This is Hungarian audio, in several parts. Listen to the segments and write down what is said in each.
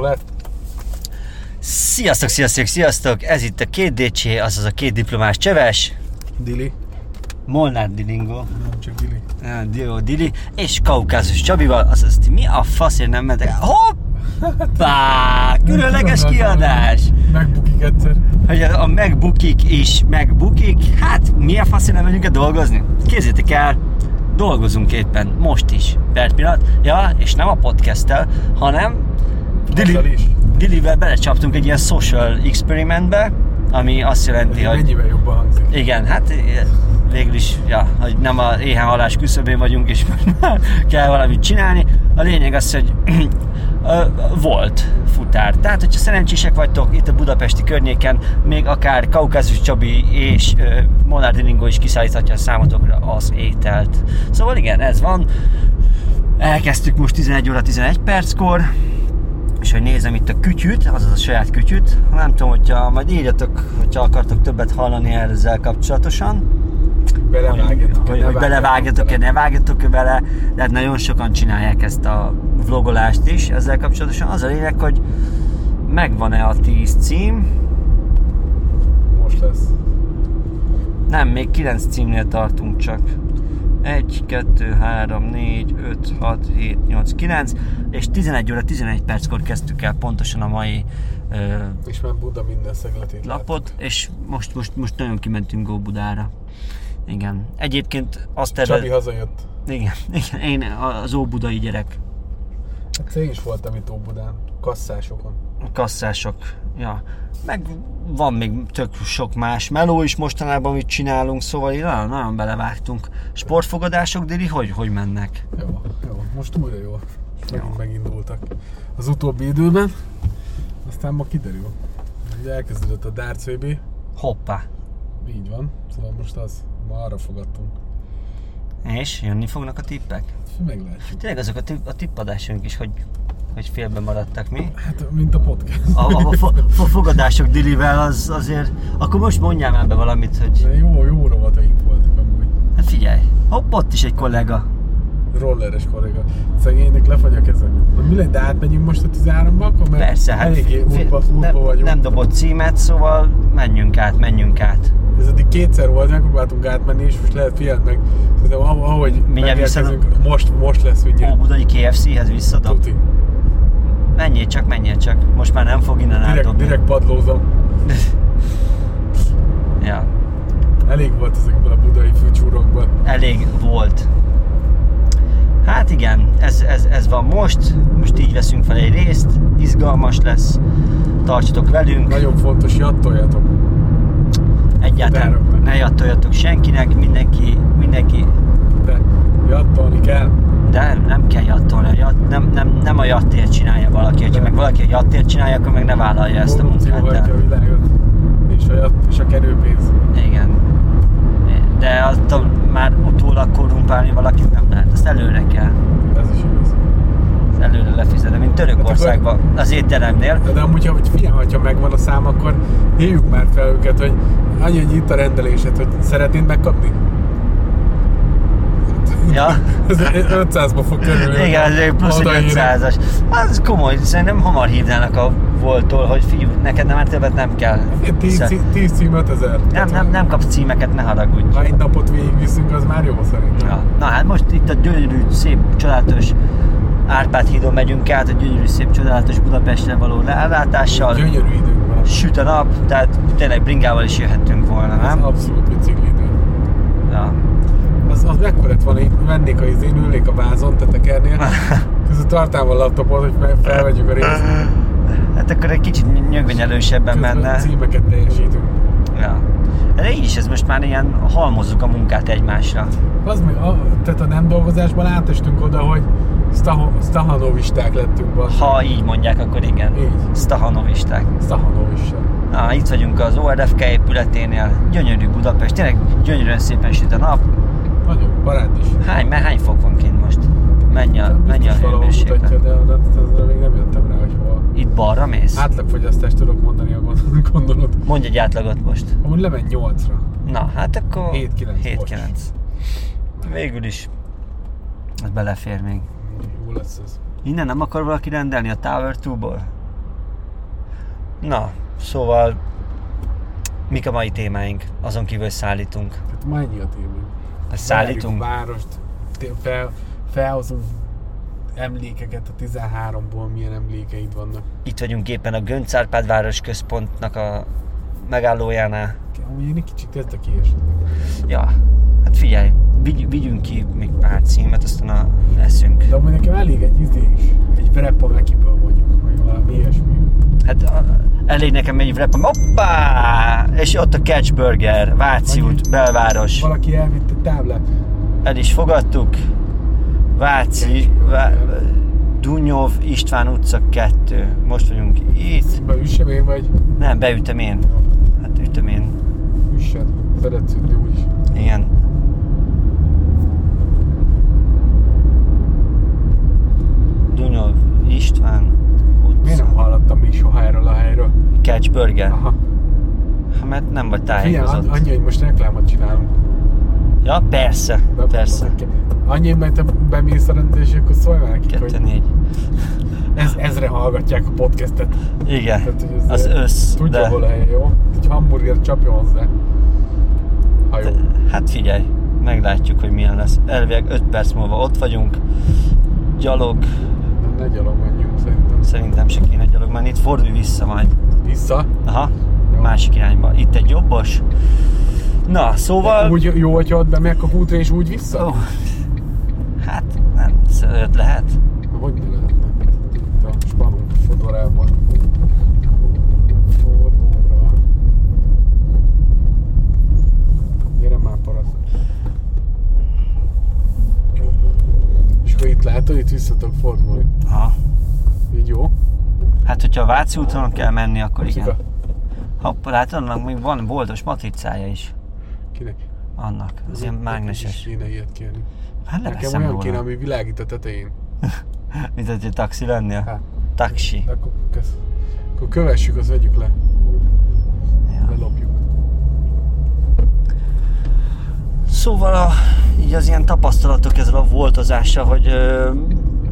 lett. Sziasztok, sziasztok, sziasztok! Ez itt a két DC, azaz a két diplomás cseves, Dili. Molnár Dilingo, Nem csak Dili. á, Dio Dili, és Kaukázus Csabival, azaz ti mi a faszért nem mentek? Hoppá! Különleges kiadás! Megbukik egyszer. Hogy a a megbukik is megbukik, hát mi a faszért nem megyünk el dolgozni? Kézzétek el, dolgozunk éppen, most is, per pillanat. Ja, és nem a podcasttel, hanem Azzal Dili, is. Dilivel belecsaptunk egy ilyen social experimentbe, ami azt jelenti, Ja. hogy Mennyivel jobban hangzik. igen, hát eh, végül is, ja, hogy nem a éhen halás küszöbén vagyunk, és már kell valamit csinálni. A lényeg az, hogy ö, volt futár. Tehát, hogyha szerencsések vagytok itt a budapesti környéken, még akár Kaukázus Csabi és ö, Molnár Dilingo is kiszállíthatja számotokra az ételt. Szóval igen, ez van. Elkezdtük most 11 óra 11 perckor, és hogy nézem itt a kütyüt, azaz a saját kütyüt. Nem tudom, hogyha majd írjatok, hogyha akartok többet hallani ezzel kapcsolatosan. Belevágjatok. Hogy, hogy belevágjatok-e, ne vágjatok-e bele. Tehát nagyon sokan csinálják ezt a vlogolást is ezzel kapcsolatosan. Az a lényeg, hogy megvan-e a 10 cím. Most lesz. Nem, még 9 címnél tartunk csak. 1, 2, 3, 4, 5, 6, 7, 8, 9, és 11 óra 11 perckor kezdtük el pontosan a mai ö, És már Buda minden szegletét lapot, és most, most, most nagyon kimentünk Óbudára. Igen. Egyébként azt láttuk. Csabi terve... hazajött. Igen, igen, én az óbudai gyerek. Hát én is voltam itt Óbudán. Kasszásokon. A kasszások. Ja. Meg van még tök sok más meló is mostanában, amit csinálunk, szóval így nagyon, nagyon belevágtunk. Sportfogadások, Dili, hogy, hogy mennek? Jó, jó. Most újra jó. Megint megindultak. Az utóbbi időben. Aztán ma kiderül. Ugye elkezdődött a Darts VB. Hoppá. Így van. Szóval most az. Ma arra fogadtunk. És jönni fognak a tippek? Meglátjuk. Tényleg azok a, tipp, a tippadásunk is, hogy, hogy félbe maradtak mi. Hát, mint a podcast. A, a, a, fo- a fogadások Dilivel az azért... Akkor most mondjál már be valamit, hogy... De jó, jó rovataink voltak amúgy. Hát figyelj, hopp, ott is egy kollega. Rolleres kolléga. Szegénynek lefagy a keze. Na mi lett, de átmegyünk most a 13-ba, akkor mert Persze, hát eléggé fi- útba, útba nem, vagyunk. nem dobott címet, szóval menjünk át, menjünk át. Ez eddig kétszer volt, megpróbáltunk átmenni, és most lehet figyeld meg. Szerintem ah- ahogy Mindjárt megérkezünk, most, most lesz mindjárt. Óbudai KFC-hez visszadob. Tuti. Menjél csak, menjél csak. Most már nem fog innen Direkt, átdobni. direkt padlózom. Ja, Elég volt ezekből a budai fűcsúrokból. elég volt. Hát igen, ez, ez, ez van most. Most így veszünk fel egy részt. Izgalmas lesz. Tartsatok velünk. Nagyon fontos, jattoljatok. Egyáltalán futároknak. ne jattoljatok senkinek. Mindenki, mindenki De jattolni kell. De nem kell jattolni, a jatt, nem, nem, nem a jattért csinálja valaki. Ha De. meg valaki a jattért csinálja, akkor meg ne vállalja ezt hát a Korrupció munkát. hajtja a De, világot. És a, jatt, és a kerőpénz. igen. De attól már utólag korrumpálni valakit nem lehet. Ezt előre kell. Ez is igaz. Ezt előre lefizetem, mint Törökországban, az étteremnél. De amúgy, ha, hogy figyelj, ha megvan a szám, akkor hívjuk már fel őket, hogy annyi, hogy itt a rendelésed, hogy szeretnéd megkapni? Ja. Ez 500-ba fog kerülni. Igen, ez plusz egy Odaírni. 500-as. Az komoly, szerintem hamar hívnának a voltól, hogy fiú, neked nem már többet nem kell. 10 Hiszen- cí- 10 cím 5000. Nem, nem, nem kapsz címeket, ne haragudj. Ha egy napot végigviszünk, az már jó szerintem. Ja. Na hát most itt a gyönyörű, szép, csodálatos Árpád hídon megyünk át, a gyönyörű, szép, csodálatos Budapestre való rálátással. Gyönyörű időnk van. Süt a nap, tehát tényleg bringával is jöhettünk volna, Ez nem? abszolút bicikli idő. Ja. Az, az mekkorát van, így vennék a izén, ülnék a vázon, te tekernél. Közül tartám a laptopot, hogy meg- felvegyük a részt. Hát akkor egy kicsit nyögvenyelősebben Közben menne. címeket teljesítünk. Ja. De így is ez most már ilyen halmozzuk a munkát egymásra. Az meg, a, tehát a nem dolgozásban átestünk oda, hogy Staho- Stahanovisták lettünk be. Ha így mondják, akkor igen. Így. Stahanovisták. Stahanovista. Na, itt vagyunk az ORFK épületénél. Gyönyörű Budapest, tényleg gyönyörűen szépen süt a nap. Nagyon barát is. Hány, mert hány fok van kint most? Menj a, menj a Biztos valahol mutatja, hőmérséklet. de azra még nem jöttem rá, hogy hol. Itt balra mész? Hát. Átlagfogyasztást tudok mondani a gond- gondolat. Mondj egy átlagot most. Amúgy lement 8-ra. Na, hát akkor... 7-9 7-9. Végül is. Ez belefér még. Jó lesz ez. Innen nem akar valaki rendelni a Tower 2-ból? Na, szóval mik a mai témáink? Azon kívül hogy szállítunk. Tehát mennyi a témánk? Ezt Szállítunk? Várjuk a várost, té- fel, felhozunk emlékeket a 13-ból, milyen emlékeid vannak. Itt vagyunk éppen a Göncárpád város központnak a megállójánál. Amúgy én egy kicsit kezdek ilyesni. Ja, hát figyelj, vigy, vigyünk ki még pár címet, aztán a leszünk. De amúgy nekem elég egy izé, egy Brepa Mekiből mondjuk, vagy valami ilyesmi. Hát a, elég nekem egy rep, hoppá! És ott a Catch Burger, Váci út, belváros. Valaki elvitte táblát. El is fogadtuk. Váci, Vá, Dunyov István utca 2. Most vagyunk itt. Be üssem én, vagy Nem, beütöm én. Hát ütöm én. üssed. Szeret szülni úgyis. Igen. Dunyov István Miért nem utca. hallottam még soha erről a helyről? Catch Burger. Aha. Hát, mert nem vagy Ah. Figyelj, an- tájékozott. annyi, hogy most reklámot csinálunk. Ja, persze, Be- persze. Annyi, mert te bemész a rendezés, akkor szólj már nekik, Kettő, hogy négy. ez, ezre hallgatják a podcastet. Igen, Tehát, hogy ez az össz, Tudja, de... hol a hely, jó? Egy hamburger csapjon hozzá. Ha jó. Hát figyelj, meglátjuk, hogy milyen lesz. Elvileg 5 perc múlva ott vagyunk. Gyalog, Ne gyalog menjünk szerintem. szerintem se kéne gyalog menni. Itt fordulj vissza majd. Vissza. Aha, Jó. másik irányba. Itt egy jobbos. Na, szóval... Úgy jó, hogyha ott bemegyek a kútra és úgy vissza? Ó, hát, nem, öt lehet. Hogy ne lehetne? Itt a spanunk fodorában. Fodora. Gyere már, paraszt. És akkor itt látod, itt vissza tudok fordulni. Aha. Így jó? Hát, hogyha a Váci úton kell menni, akkor Cika. igen. Hoppá, látod, annak még van boldos matricája is. Kinek? Annak, az ilyen Is mágneses. kéne ilyet kérni. Hát Nekem leveszem olyan kéne, róla. ami világít a tetején. Mint hogy egy taxi lennél. Hát, Taxi. akkor, kösz. akkor kövessük, azt vegyük le. Ja. Lelopjuk. Szóval a, így az ilyen tapasztalatok ezzel a voltozással, hogy ö,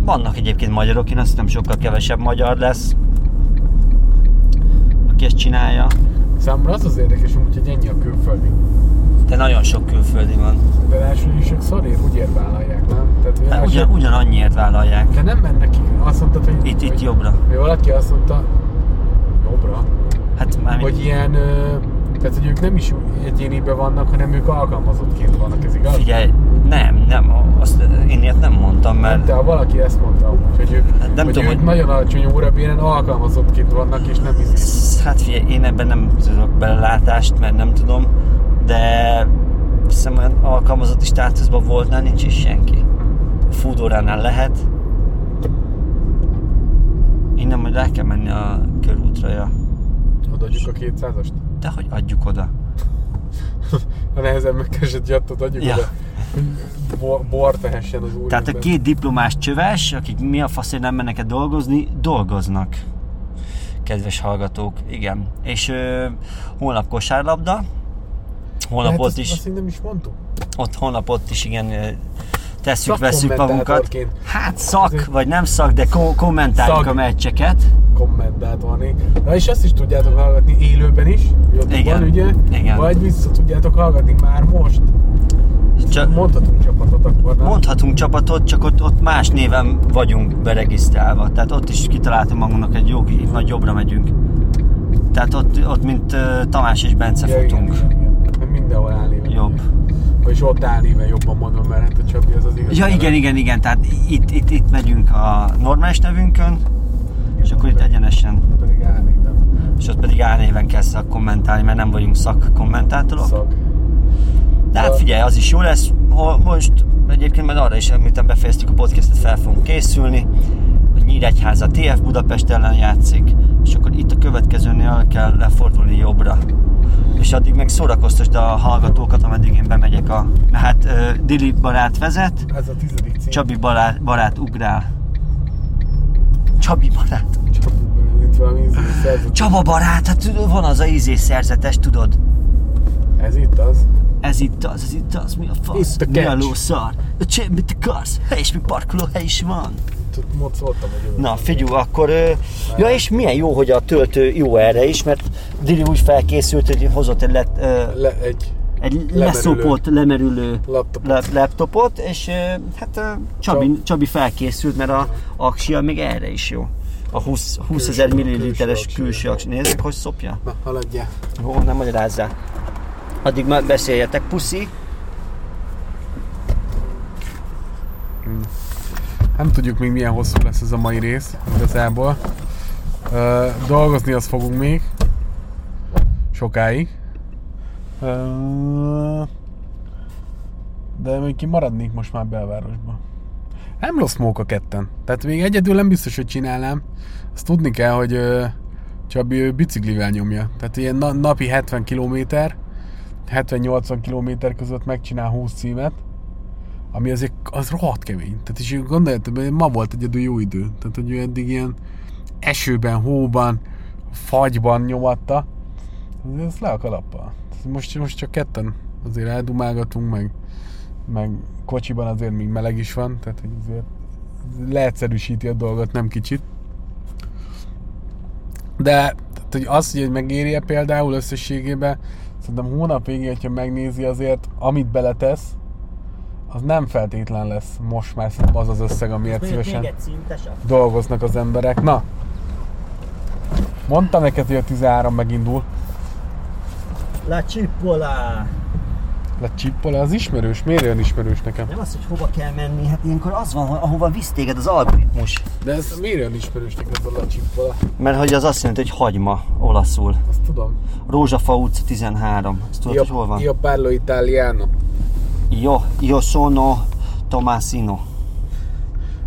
vannak egyébként magyarok, én azt hiszem sokkal kevesebb magyar lesz, aki ezt csinálja. Számomra az az érdekes, amúgy, hogy ennyi a külföldi. De nagyon sok külföldi van. Hát De első is szarért úgy érvállalják, nem? Tehát, hogy De első- ugyan, ugyanannyiért vállalják. De nem mennek ki. Azt mondtad, hogy... Itt, hogy, itt jobbra. hogy valaki azt mondta, jobbra, Hát már hogy ilyen... Ö, tehát, hogy ők nem is egyéniben vannak, hanem ők alkalmazottként vannak, ez igaz? Figyelj, nem, nem, azt én ilyet nem mondtam, Nem, mert De valaki ezt mondta amúgy, hogy ők, Hát nem hogy tudom, ők hogy- nagyon alacsony órabéren alkalmazottként vannak, és nem izé. hát figyelj, én ebben nem tudok belelátást, mert nem tudom, de azt hiszem olyan alkalmazotti státuszban voltnál nincs is senki. Fúdóránál lehet. Innen majd le kell menni a körútra, ja. Odaadjuk a 200-ast? De hogy adjuk oda? A nehezen megkeresett gyattot adjuk Ja. ja. oda. Bo- Bor tehessen az úr. Tehát a két diplomás csöves, akik mi a faszért nem mennek el dolgozni, dolgoznak. Kedves hallgatók, igen. És ö, holnap kosárlabda, holnap hát ott azt, is, Azt én nem is mondtuk. ott holnap ott is igen, ö, tesszük, veszük magunkat. Szakkommentátorként Hát szak, Azért- vagy nem szak, de ko- kommentáljuk Szag. a meccseket. kommentálni. Na és ezt is tudjátok hallgatni élőben is, Igen. YouTube-ban ugye? Igen. Vagy vissza tudjátok hallgatni már most. Csak Mondhatunk csapatot akkor, nem? mondhatunk csapatot, csak ott, ott más néven vagyunk beregisztrálva. Tehát ott is kitaláltunk magunknak egy jogi, majd jobbra megyünk. Tehát ott, ott mint ö, Tamás és Bence Ja, igen, futunk. igen, igen. Mert Mindenhol állni. Jobb. Vagyis ott állni, mert jobban mondom, mert hát a Csabi az az igaz. Ja, igen, igen, igen, tehát itt, itt, itt megyünk a normális nevünkön, és akkor itt egyenesen, Pedig állni, nem? és ott pedig álnéven kell szak kommentálni, mert nem vagyunk szak kommentátorok. Szak. De hát figyelj, az is jó lesz. Ho- Most egyébként majd arra is említem, befejeztük a podcastet, fel fogunk készülni. A Nyíregyháza TF Budapest ellen játszik, és akkor itt a következőnél kell lefordulni jobbra. És addig meg szórakoztasd a hallgatókat, ameddig én bemegyek a... Na Hát ö, Dili barát vezet, Ez a tizedik cím. Csabi barát, barát ugrál. Csabi barát. Csabi. Itt valami izé, szerzett. Csaba barát, hát tudod, van az a izé szerzetes, tudod? Ez itt az. Ez itt az, ez itt az, mi a fasz? Itt a mi a catch. lószar? A csem, mit akarsz? Hely és még parkoló hely is van. ott mocoltam egy Na, figyú, akkor... ö, Ja, és milyen jó, hogy a töltő jó erre is, mert Dili úgy felkészült, hogy hozott egy, let, ö, Le, egy egy Lemerülő. leszopott, lemerülő laptopot. lap- laptopot, és ö, hát ö, Csabi, Csabi felkészült, mert a aksia még erre is jó. A 20 20 ezer Külső- milliliteres külső külső aksia. Nézzük, hogy szopja. Na, haladjál. Ó, nem magyarázzál. Addig már beszéljetek, puszi. Nem tudjuk még milyen hosszú lesz ez a mai rész, igazából. Ö, dolgozni azt fogunk még. Sokáig. Ö, de még kimaradnék most már belvárosba. Nem rossz móka ketten. Tehát még egyedül nem biztos, hogy csinálnám. Azt tudni kell, hogy ö, Csabi ő biciklivel nyomja. Tehát ilyen na- napi 70 km, 70-80 km között megcsinál 20 címet ami azért az rohadt kemény. Tehát is gondoljátok, hogy ma volt egyedül jó idő. Tehát, hogy ő eddig ilyen esőben, hóban, fagyban nyomatta. Azért ezt le a kalappal. Most, most csak ketten azért eldumálgatunk, meg, meg kocsiban azért még meleg is van, tehát hogy azért leegyszerűsíti a dolgot nem kicsit. De tehát, hogy az, hogy megéri például összességében, szerintem hónap végén, hogyha megnézi azért, amit beletesz, az nem feltétlen lesz most már szerintem az az összeg, amiért Hát szívesen dolgoznak az emberek. Na, mondtam neked, hogy a 13 megindul. La csipola! Le csippol, az ismerős, miért olyan ismerős nekem? Nem az, hogy hova kell menni, hát ilyenkor az van, hogy ahova visz téged az algoritmus. De ez miért olyan ismerős nekem ez a le csippol? Mert hogy az azt jelenti, hogy hagyma olaszul. Azt tudom. Rózsafa utca 13. Azt tudod, hogy hol van? Io parlo italiano. Jó, io sono Tomasino.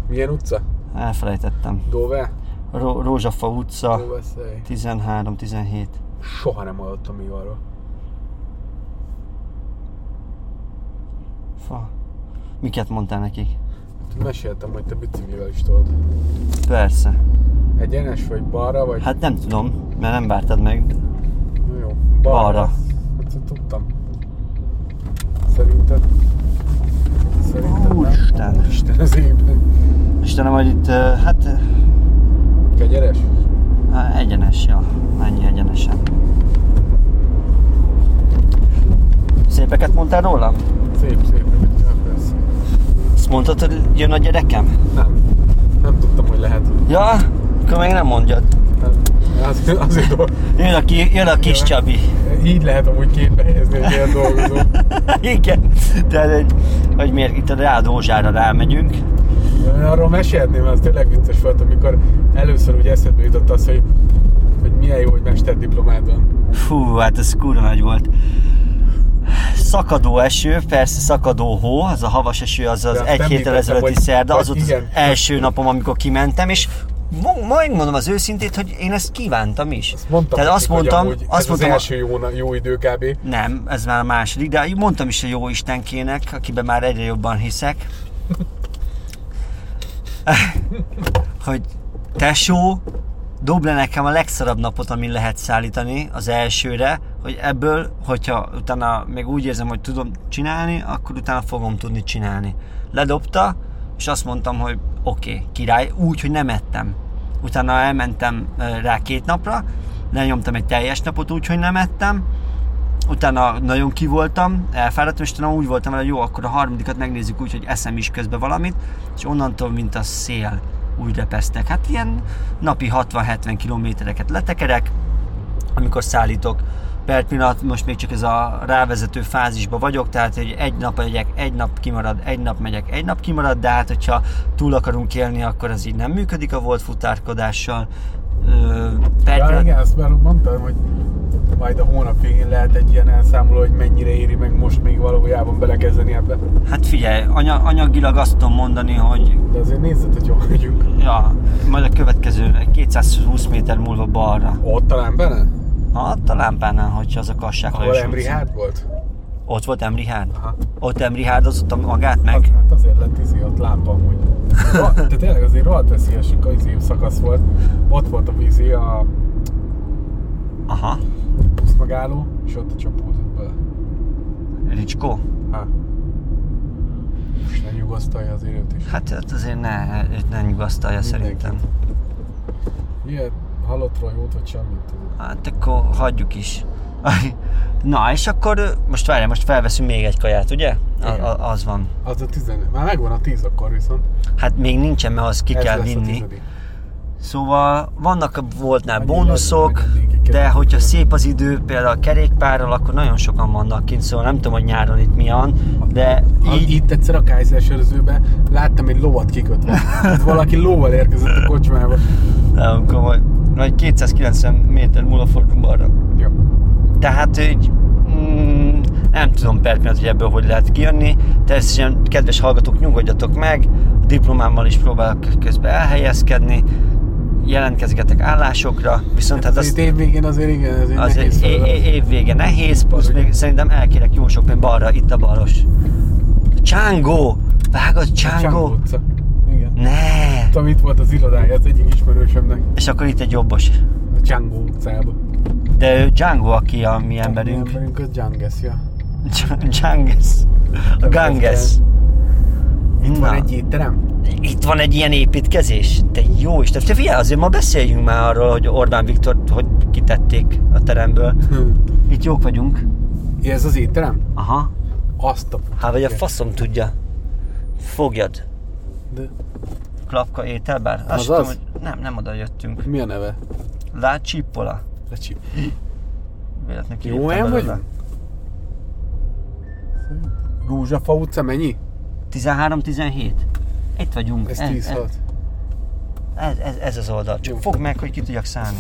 Milyen utca? Elfelejtettem. Dove? Ró- Rózsafa utca Dove szej. 13-17. Soha nem hallottam még arról. Fa. Miket mondtál nekik? Meséltem, hogy te biciklivel is tudod. Persze. Egyenes vagy balra vagy? Hát nem tudom, mert nem vártad meg. Na jó. Balra. Hát én tudtam. Szerinted? Szerinted nem? Úristen. Isten az égben. Istenem, hogy itt, ö, hát ö, Kegyeres? Há, egyenes, ja. Mennyi egyenesen. Szépeket mondtál rólam? Szép, szép. Ja, persze. Azt mondtad, hogy jön a gyerekem? Nem. Nem tudtam, hogy lehet. Ja? Akkor meg nem mondjad. Nem. Az, azért dolg... Jön a, ki, jön a kis Ja. Csabi. Így lehet amúgy képbe helyezni, hogy ilyen dolgozom. Igen. Tehát, hogy, hogy miért itt a Rád Ózsára rámegyünk. Arról mesélhetném, mert az tényleg vicces volt, amikor először úgy eszedbe jutott az, hogy, hogy milyen jó, hogy mesterdiplomád van. Fú, hát ez kurva nagy volt. Szakadó eső, persze szakadó hó, az a havas eső, az az De egy nem héttel hittem, ezelőtti hogy- szerda, az hogy volt az igen. első napom, amikor kimentem, és mo- majd mondom az őszintét, hogy én ezt kívántam is. Azt mondtam, Tehát azt nekik, hogy mondtam, amúgy ez azt mondtam, az első jó, jó idő kb. nem, ez már a második, de mondtam is a jó Istenkének, akiben már egyre jobban hiszek, hogy tesó, dob le nekem a legszarabb napot, amin lehet szállítani az elsőre, hogy ebből, hogyha utána még úgy érzem, hogy tudom csinálni, akkor utána fogom tudni csinálni. Ledobta, és azt mondtam, hogy oké, okay, király, úgy, hogy nem ettem. Utána elmentem ö, rá két napra, lenyomtam egy teljes napot úgy, hogy nem ettem, utána nagyon kivoltam, elfáradtam, és utána úgy voltam vele, hogy jó, akkor a harmadikat megnézzük úgy, hogy eszem is közben valamit, és onnantól, mint a szél, úgy repesztek. Hát ilyen napi 60-70 kilométereket letekerek, amikor szállítok. Per pillanat most még csak ez a rávezető fázisba vagyok, tehát hogy egy nap megyek, egy nap kimarad, egy nap megyek, egy nap kimarad, de hát hogyha túl akarunk élni, akkor ez így nem működik a volt futárkodással. Ö, per Ja, pillanat- igen, azt már mondtam, hogy majd a hónap végén lehet egy ilyen elszámoló, hogy mennyire éri meg most még valójában belekezdeni ebbe. Hát figyelj, anya, anyagilag azt tudom mondani, hogy De azért nézzet, hogy hol vagyunk. ja, majd a következő 220 méter múlva balra. Ott talán benne? Ha, ott a lámpánál, hogyha az a kasság Ahol Emri hát volt? Ott volt Emri Hárd? Aha. Ott Emri Hárdozott a magát meg? Az, hát azért lett izé, ott lámpa amúgy. Ro- De tényleg azért rohadt veszélyes izé szakasz volt. Ott volt a vízi, a Aha. busz megálló, és ott a csapódott bele. Ricskó? Ha. Isten nyugasztalja az élőt is. Hát ott azért ne, őt ne nyugasztalja Mindenkit. szerintem. Ilyet halottról jót, vagy semmit. Hát akkor hagyjuk is. Na, és akkor ö, most várjál, most felveszünk még egy kaját, ugye? A, Igen. a, az van. Az a 10, már megvan a 10 akkor viszont. Hát még nincsen, mert az ki Ez kell lesz a vinni. tizedik. Szóval vannak a voltnál Annyi bónuszok, lehet, hogy mindenki de keresik hogyha őket. szép az idő, például a kerékpárral, akkor nagyon sokan vannak kint, szóval nem tudom, hogy nyáron itt mi van, de A- így, Itt egyszer a Kaiser sörözőben láttam egy lovat kikötve. Tehát valaki lóval érkezett a kocsmába. nem komoly, vagy 290 méter múlva fordulunk balra. Ja. Tehát így mm, nem tudom per pillanat, hogy ebből hogy lehet kijönni. Természetesen, kedves hallgatók, nyugodjatok meg, a diplomámmal is próbálok közben elhelyezkedni, jelentkezgetek állásokra, viszont hát Hát az azt itt évvégén azért igen, azért az nehéz é- feladat. é- évvége nehéz, plusz még szerintem elkérek jó sok pénzt balra, itt a balos. Csángó! Vágod, Csángó Csángó! utca. Igen. Ne! Tudom, itt volt az irodája az egyik ismerősömnek, És akkor itt egy jobbos. a Csángó utcában. De ő Django, aki a mi emberünk. Mi emberünk az Gyangesz, ja. Ganges. A Ganges. Itt van Na. egy étterem? Itt van egy ilyen építkezés. Te jó Isten. Te figyelj, azért ma beszéljünk már arról, hogy Orbán Viktor hogy kitették a teremből. Hm. Itt jók vagyunk. Ja, ez az étterem? Aha. Azt a... Hát vagy a faszom tudja. Fogjad. De Klapka ételbár? Azt Az sem az? Tudom, hogy nem, nem oda jöttünk. mi a neve? Lá Csippola. Lecsi. Véletlenül Jó kiírtam helyen belőle. vagyunk? Rózsafa utca mennyi? 13-17. Itt vagyunk. Ez ez, 10 ez, volt. ez, ez, ez, az oldal. Csak Jó. fogd meg, hogy ki tudjak szállni.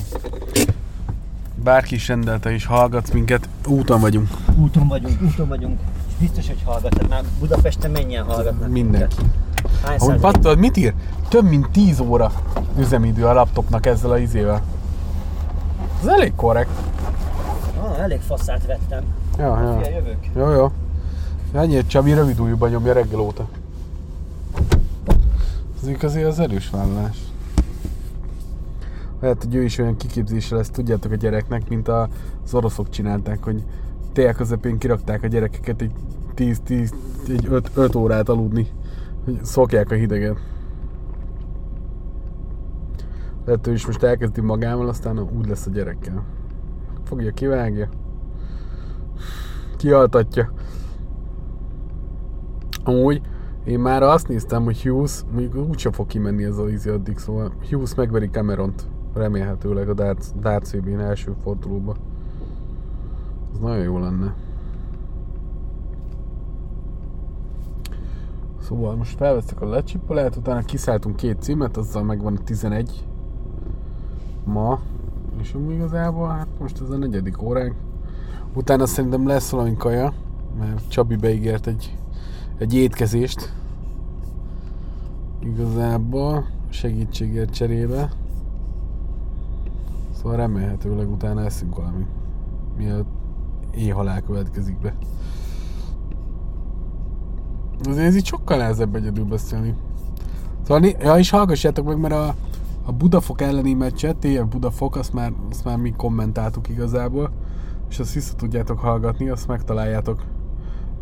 Bárki is rendelte és hallgatsz minket, úton vagyunk. Úton vagyunk, úton vagyunk. És Biztos, hogy hallgatnak. Már Budapesten mennyien hallgatnak. Mindenki. minket? Hány Ahogy százalék? pattad, mit ír? Több mint 10 óra üzemidő a laptopnak ezzel a izével. Ez elég korrekt. Ah, elég faszát vettem. Ja, ja. Fia, jövök. Jó, jó. Ennyi, Csabi rövid ujjúban nyomja reggel óta. Ez így azért az erős vállás. Lehet, hogy ő is olyan kiképzése lesz, tudjátok a gyereknek, mint a- az oroszok csinálták, hogy tél közepén kirakták a gyerekeket egy 10-10, egy 5, 5 órát aludni, hogy szokják a hideget. Lehet, ő is most elkezdi magával, aztán úgy lesz a gyerekkel. Fogja, kivágja kialtatja. Amúgy én már azt néztem, hogy Hughes, mondjuk úgyse fog kimenni ez a izi addig, szóval Hughes megveri Cameront, remélhetőleg a Darts, Darts VB-n első fordulóba. Ez nagyon jó lenne. Szóval most felvesztek a lecsipolát, utána kiszálltunk két címet, azzal megvan a 11 ma, és amúgy igazából hát most ez a negyedik óránk. Utána szerintem lesz valami kaja, mert Csabi beígért egy, egy étkezést. Igazából segítségért cserébe. Szóval remélhetőleg utána eszünk valami, mielőtt éhalál következik be. Azért ez így sokkal nehezebb egyedül beszélni. Szóval, né- ja, és hallgassátok meg, mert a, a Budafok elleni meccset, TF Budafok, azt már, azt már mi kommentáltuk igazából és azt vissza tudjátok hallgatni, azt megtaláljátok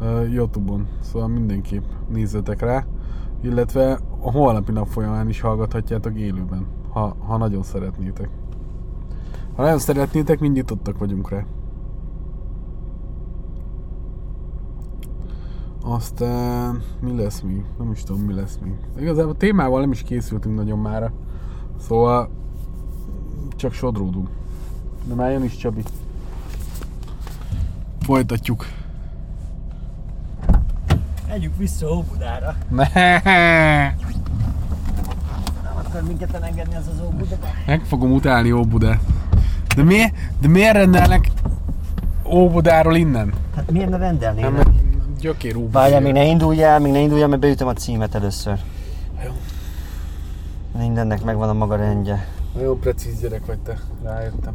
uh, Youtube-on, szóval mindenképp nézzetek rá, illetve a holnapi nap folyamán is hallgathatjátok élőben, ha, ha nagyon szeretnétek. Ha nagyon szeretnétek, mind nyitottak vagyunk rá. Aztán mi lesz mi? Nem is tudom, mi lesz mi. Igazából témával nem is készültünk nagyon mára. Szóval csak sodródunk. De már jön is Csabi. Folytatjuk. Megyünk vissza Óbudára. Ne, Nem akar minket elengedni az az Óbudába. meg fogom utálni Óbudát. De, mi, de miért rendelnek Óbudáról innen? Hát miért ne rendelnél? Nem, gyökér Óbudá. Várjál, még ne indulj el, még ne indulj el, mert beütöm a címet először. Jó. Mindennek megvan a maga rendje. Nagyon precíz gyerek vagy te, rájöttem.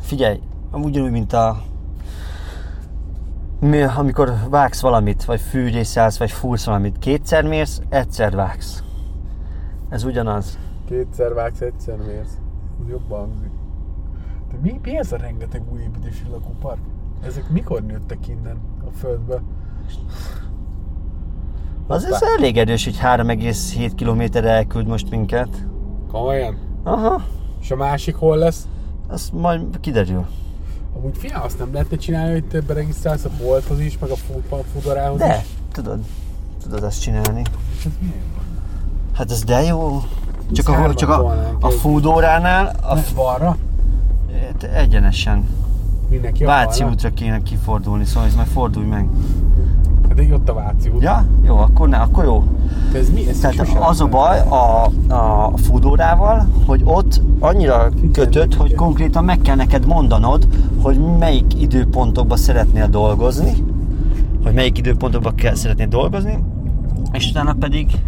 Figyelj, am- ugyanúgy, mint a... Mi, amikor vágsz valamit, vagy fűrészállsz, vagy fúrsz valamit, kétszer mérsz, egyszer vágsz. Ez ugyanaz. Kétszer vágsz, egyszer mérsz. Ez jobban hangzik. De mi, mi ez a rengeteg új építési lakópark? Ezek mikor nőttek innen a földbe? Az ez elég erős, hogy 3,7 km elküld most minket. Komolyan? Aha, És a másik hol lesz? az majd kiderül. Amúgy figyelj, azt nem lehetne csinálni, hogy te beregisztrálsz a bolthoz is, meg a fu- fudarához De, is? tudod, tudod ezt csinálni. Ez miért van? Hát ez de jó. Csak, Szárban ahol, csak a, tolnánk a egy- fúdóránál a, A balra? te egyenesen Mindenki a Váci balra? útra kéne kifordulni, szóval ez majd fordulj meg. Hát így ott a Váci út. Ja? Jó, akkor ne, akkor jó. De ez mi? Ez Tehát az a baj a, a fúdórával, hogy ott annyira kötött, hogy konkrétan meg kell neked mondanod, hogy melyik időpontokban szeretnél dolgozni, hogy melyik időpontokban kell szeretnél dolgozni, és utána pedig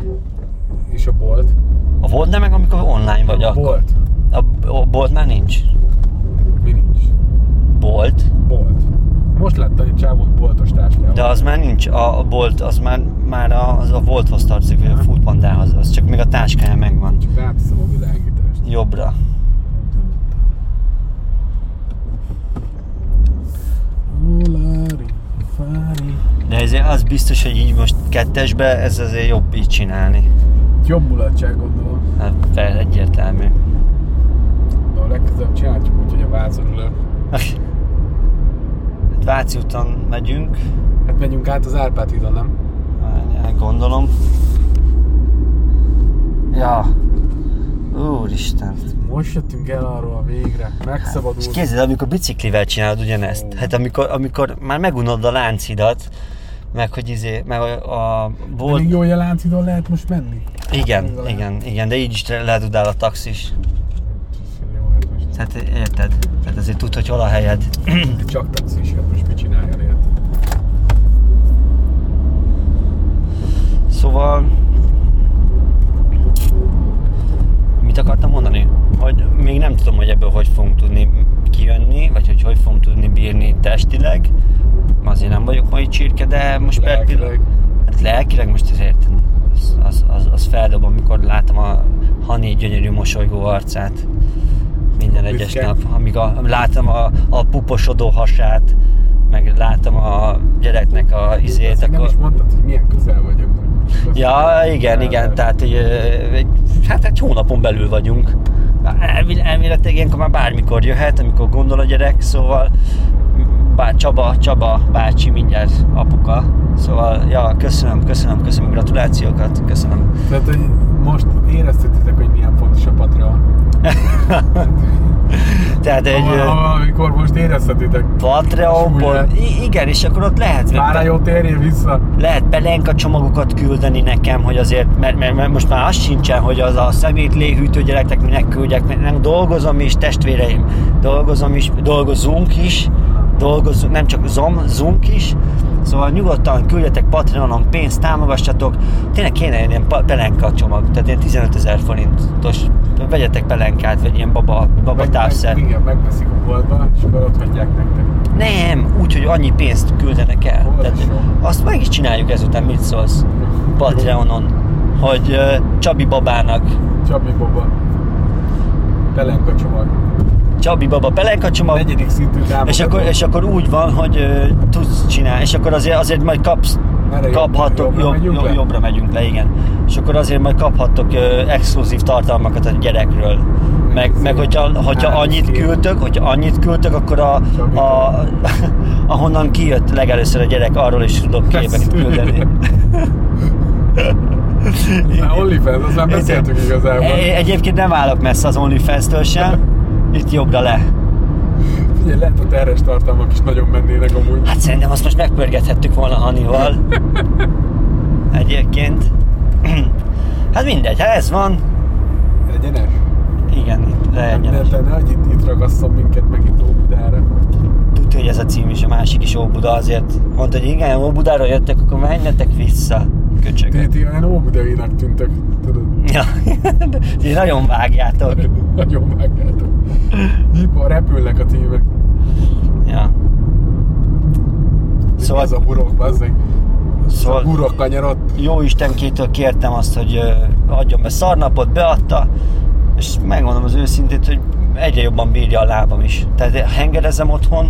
És a bolt? a volt, de meg amikor online vagy, a akkor bolt. a, a bolt már nincs. Mi nincs? Bolt? Bolt. Most láttam egy csávót boltos táskájával. De az már nincs, a, a bolt, az már, már a, az a volthoz tartozik, vagy a futbandához, az csak még a táskája megvan. Csak ráteszem a világítást. Jobbra. Olari, fári. De ezért az biztos, hogy így most kettesbe ez azért jobb így csinálni. Jobb mulatság gondolom. Hát fel egyértelmű. De a legközelebb csináljuk úgy, hogy a vázon ülök. Hát Váci úton megyünk, Hát menjünk át az Árpád hídon, nem? Várjál, gondolom. Ja. Úristen. Most jöttünk el arról végre. Hát, És Megszabadult. képzeld, amikor biciklivel csinálod ugyanezt. Hát amikor, amikor már megunod a láncidat, meg hogy izé, meg a, a bolt... Még jó, hogy a Lánchidon lehet most menni. Igen, igen, igen, de így is ledudál a taxis. Jó, hát most. Tehát érted? Tehát azért tud, hogy hol a helyed. Hmm. Csak taxis, hát most mit csináljon ilyet? Szóval... Mit akartam mondani? Hogy még nem tudom, hogy ebből hogy fogunk tudni kijönni, vagy hogy hogy fogunk tudni bírni testileg. Azért nem vagyok mai csirke, de most per Lelkileg. pillanat... Hát lelkileg most azért az, az, az, az feldob, amikor látom a Hani gyönyörű mosolygó arcát minden egyes Büszke. nap, amíg a, látom a, a puposodó hasát, meg látom a gyereknek a izét, Ezt nem akkor... is mondtad, hogy milyen közel vagyok. Ja, igen, igen, tehát egy, ö, egy, hát egy hónapon belül vagyunk. Elvi- Elméletileg ilyenkor már bármikor jöhet, amikor gondol a gyerek, szóval bár Csaba, Csaba bácsi mindjárt apuka. Szóval, ja, köszönöm, köszönöm, köszönöm, gratulációkat, köszönöm. Tehát, hogy most éreztetitek, hogy milyen fontos a Patreon. Tehát egy Egy, ö, amikor most éreztetitek. Patreonból, i- igen, és akkor ott lehet, Már jó, térjél vissza. lehet pelenka csomagokat küldeni nekem, hogy azért, mert, mert, mert most már az sincsen, hogy az a szemét léhűtő gyereknek minek küldjek, mert nem dolgozom is, testvéreim, dolgozom is, dolgozunk is, dolgozunk, nem csak zom, zunk is, szóval nyugodtan küldjetek Patreonon pénzt, támogassatok, tényleg kéne egy ilyen pa- pelenka csomag, tehát ilyen 15 ezer forintos, vegyetek pelenkát, vagy ilyen baba, baba Meg- távszer. meg- Igen, megveszik a boltba, és akkor ott hagyják nektek. Nem, úgy, hogy annyi pénzt küldenek el. Ó, Tehát, jó. azt meg is csináljuk ezután, mit szólsz? Patreonon, hogy ö, Csabi babának, Csabi Boba. Pelenka csomag. Csabi baba pelenka csomag, Negyedik szintű támogató. és akkor, és akkor úgy van, hogy ö, tudsz csinálni, és akkor azért, azért majd kapsz, Merre kaphattok, jobbra jobb, megyünk jobb, le? jobbra megyünk le, igen. És akkor azért majd kaphattok ö, exkluzív tartalmakat a gyerekről. Meg, meg hogyha, hogyha Á, annyit szép. küldtök, hogyha annyit küldtök, akkor a, Csabi a, ahonnan kijött legelőször a gyerek, arról is tudok képeket Persze. küldeni. Már OnlyFans, azt már beszéltünk igazából. E- Egyébként nem állok messze az OnlyFans-től sem. Itt jobbra le. Figyelj, lehet a terres tartalmak is nagyon mennének amúgy. Hát szerintem azt most megpörgethettük volna Hanival. Egyébként. Hát mindegy, ha ez van, Hát- Egyenes. igen, itt Ne, legyen. te ne, hogy hát itt, itt ragasszon minket meg itt Óbudára. Tudja, hogy ez a cím is, a másik is Óbuda azért. Mondta, hogy igen, Óbudáról jöttek, akkor menjetek vissza. Ti, Köcsögök. ti olyan óbudainak tűntök, tudod. Ja, ti nagyon vágjátok. Nagyon vágjátok. Hipa, repülnek a tímek. Ja. Szóval... Szóval Ez a burok, bazzeg. Szóval... Szóval- A burok kanyarodt. jó Istenkétől kértem azt, hogy ö, adjon be szarnapot, beadta, és megmondom az őszintét, hogy egyre jobban bírja a lábam is. Tehát hengerezem otthon,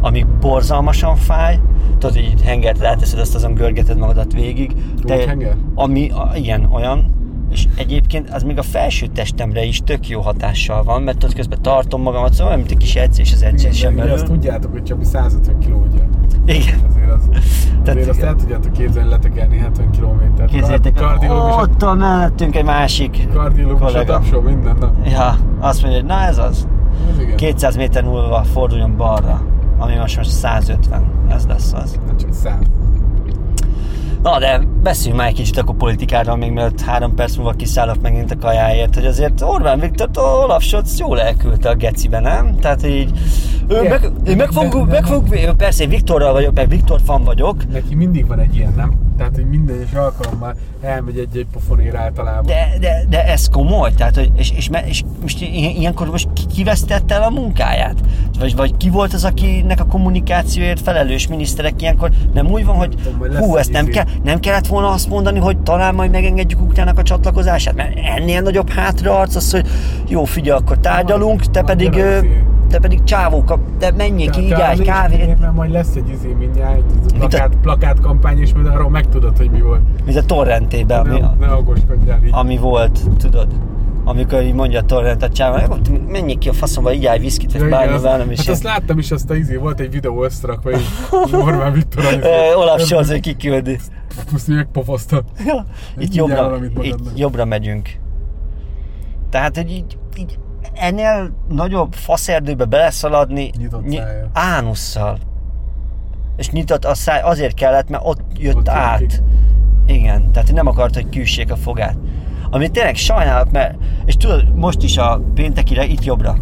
ami borzalmasan fáj, tudod, hogy itt hengert ráteszed, azt azon görgeted magadat végig. Úgy henger? Ami, a, igen, olyan, és egyébként az még a felső testemre is tök jó hatással van, mert ott közben tartom magamat, szóval olyan, mint egy kis edzés az edzés sem Igen, de belül. azt tudjátok, hogy Csabi 150 kiló ugye. Igen. Azért, az, azért azt igen. el tudjátok képzelni letekerni 70 kilométert. Képzeljétek, el, kardiológus, ott a mellettünk egy másik kardiológus a kollega. tapsol minden nap. Ja, azt mondja, hogy na ez az. Ez igen. 200 méter múlva forduljon balra, ami most most 150, ez lesz az. Nem csak 100. Na de beszéljünk már egy kicsit akkor politikáról, még mielőtt három perc múlva kiszállok megint a kajáért, hogy azért Orbán Viktor Olaf Scholz jól elküldte a gecibe, nem? Tehát így, ő Igen. meg, én meg, De- fogunk, de- meg fogunk, persze én Viktorral vagyok, meg Viktor fan vagyok, Neki mindig van egy ilyen, nem? Tehát, hogy minden egyes alkalommal elmegy egy-egy pofonér általában. de, de, de ez komoly, tehát, hogy, és, és, me- és most i- ilyenkor most ki- kivesztette el a munkáját? Vagy, vagy ki volt az, akinek a kommunikációért felelős miniszterek ilyenkor? Nem úgy van, hogy tudom, majd lesz hú, egy ezt nem, izé. kell, nem kellett volna azt mondani, hogy talán majd megengedjük Ukrának a csatlakozását? Mert ennél nagyobb hátraarc az, hogy jó, figyelj, akkor tárgyalunk, te Majd pedig, jön ö, az izé. te pedig csávóka, te menjél ki, így állj, kávét, Mert majd lesz egy izé mindjárt, egy Mint a- plakát, plakátkampány, és majd arról megtudod, hogy mi volt. mint a torrentében. ami- Ne, ne okoskodjál így. ami volt, tudod, amikor így mondja a torrent a csávon, menjék ki a faszomba, így állj viszkit, Ja, vagy igen, bármi, azt- bármi hát is. azt láttam is, azt a izé, volt egy videó összerakva, így Orbán Viktor amit- Ö, Eh, Olaf Scholz, hogy kiküldi. Puszt megpofoszta. Ja, itt mindjárt jobbra, valamit magadnak. itt jobbra megyünk. Tehát, hogy így, így ennél nagyobb faszerdőbe beleszaladni Nyitott szájjal. ánusszal. És nyitott a száj azért kellett, mert ott jött Ott jön át. ki. Igen, tehát nem akart, hogy küssék a fogát. Amit tényleg sajnálok, mert, és tudod, most is a péntekire itt jobbra,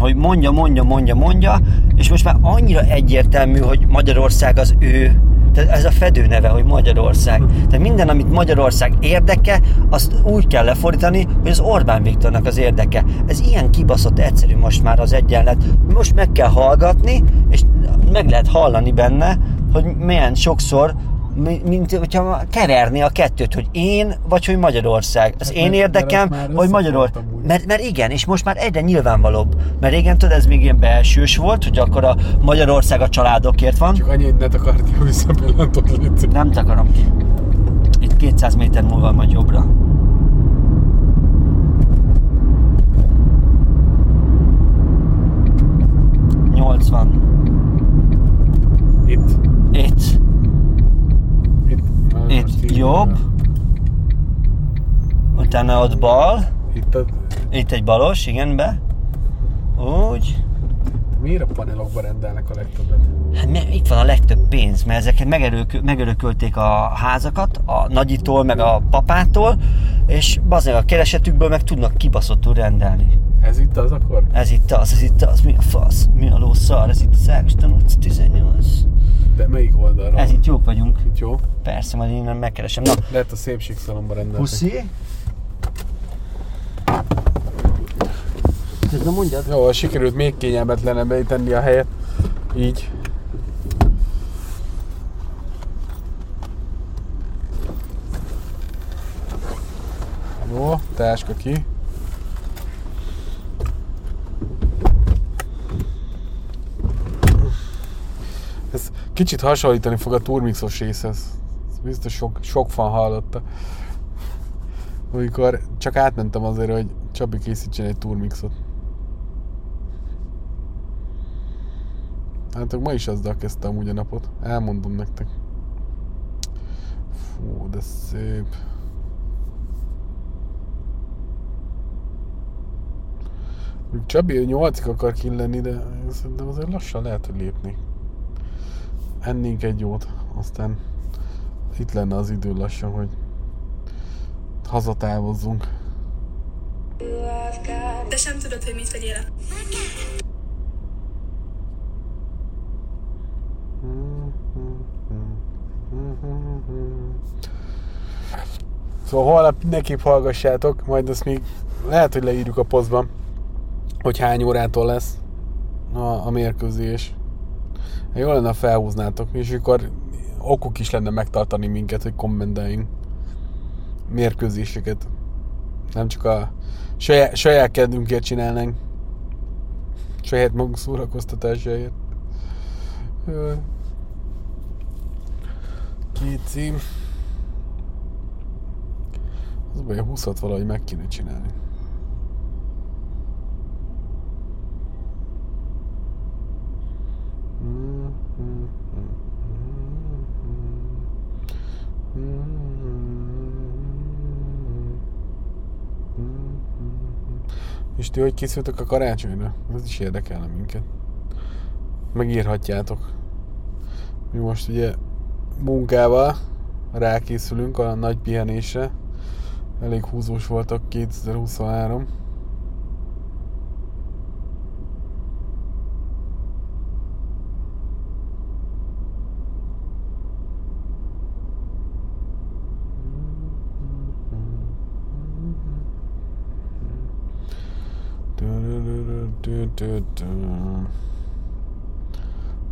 hogy mondja, mondja, mondja, mondja, és most már annyira egyértelmű, hogy Magyarország az ő, tehát ez a fedő neve, hogy Magyarország. Tehát minden, amit Magyarország érdeke, azt úgy kell lefordítani, hogy az Orbán Viktornak az érdeke. Ez ilyen kibaszott egyszerű most már az egyenlet. Most meg kell hallgatni, és meg lehet hallani benne, hogy milyen sokszor mi- mint hogyha keverni a kettőt, hogy én, vagy hogy Magyarország. Az Hát én mert- mert érdekem, ezt már hogy Magyarország. összefontam úgy. Mert, mert igen, és most már egyre nyilvánvalóbb. Mert régen tudod, ez még ilyen belsős volt, hogy akkor a Magyarország a családokért van. Csak annyi, hogy ne takardi a visszapillantót létszik. Nem takarom ki. Itt 200 méter múlva majd jobbra. Nyolcvan. Itt. Itt. Itt. Na, ez Itt most így- jobb. Utána ott bal. Itt a... Itt egy balos, igen, be. Úgy. Miért a panelokba rendelnek a legtöbbet? Hát mi- itt van a legtöbb pénz, mert ezeket megerők, megörökölték a házakat, a nagyitól, meg a papától, és bazdmeg a keresetükből meg tudnak kibaszottul rendelni. Ez itt az akkor? Ez itt az, ez itt az, mi a fasz, mi a lószar, ez itt Szákoston utca 18. De melyik oldalra? Ez van? itt jók vagyunk. Itt jó. Persze, majd innen megkeresem. Na, Lehet a szépségszalomba rendeltek. puszi. Ez na mondjad. Jó, sikerült még kényelmetlenebbé tenni a helyet. Így. Jó, táska ki. Ez kicsit hasonlítani fog a turmixos részhez. Ezt biztos sok, sok fan hallotta. Amikor csak átmentem azért, hogy Csabi készítsen egy turmixot. Hát ma is azzal kezdtem úgy a napot. Elmondom nektek. Fú, de szép. Még Csabi 8 akar ki lenni, de szerintem azért lassan lehet, hogy lépni. Ennénk egy jót, aztán itt lenne az idő lassan, hogy hazatávozzunk. De sem tudod, hogy mit vegyél. Szóval holnap mindenképp hallgassátok, majd ezt még lehet, hogy leírjuk a posztban, hogy hány órától lesz a, a mérkőzés. Jó lenne, ha felhúznátok, és akkor okuk is lenne megtartani minket, hogy kommenteljünk mérkőzéseket. Nem csak a saját, saját kedvünkért csinálnánk. saját maguk szórakoztatásáért. Ö, Két cím. Az a baj, a 20 valahogy meg kéne csinálni. És ti hogy készültök a karácsonyra? Ez is érdekelne minket. Megírhatjátok. Mi most ugye munkával rákészülünk a nagy pihenésre. Elég húzós voltak 2023.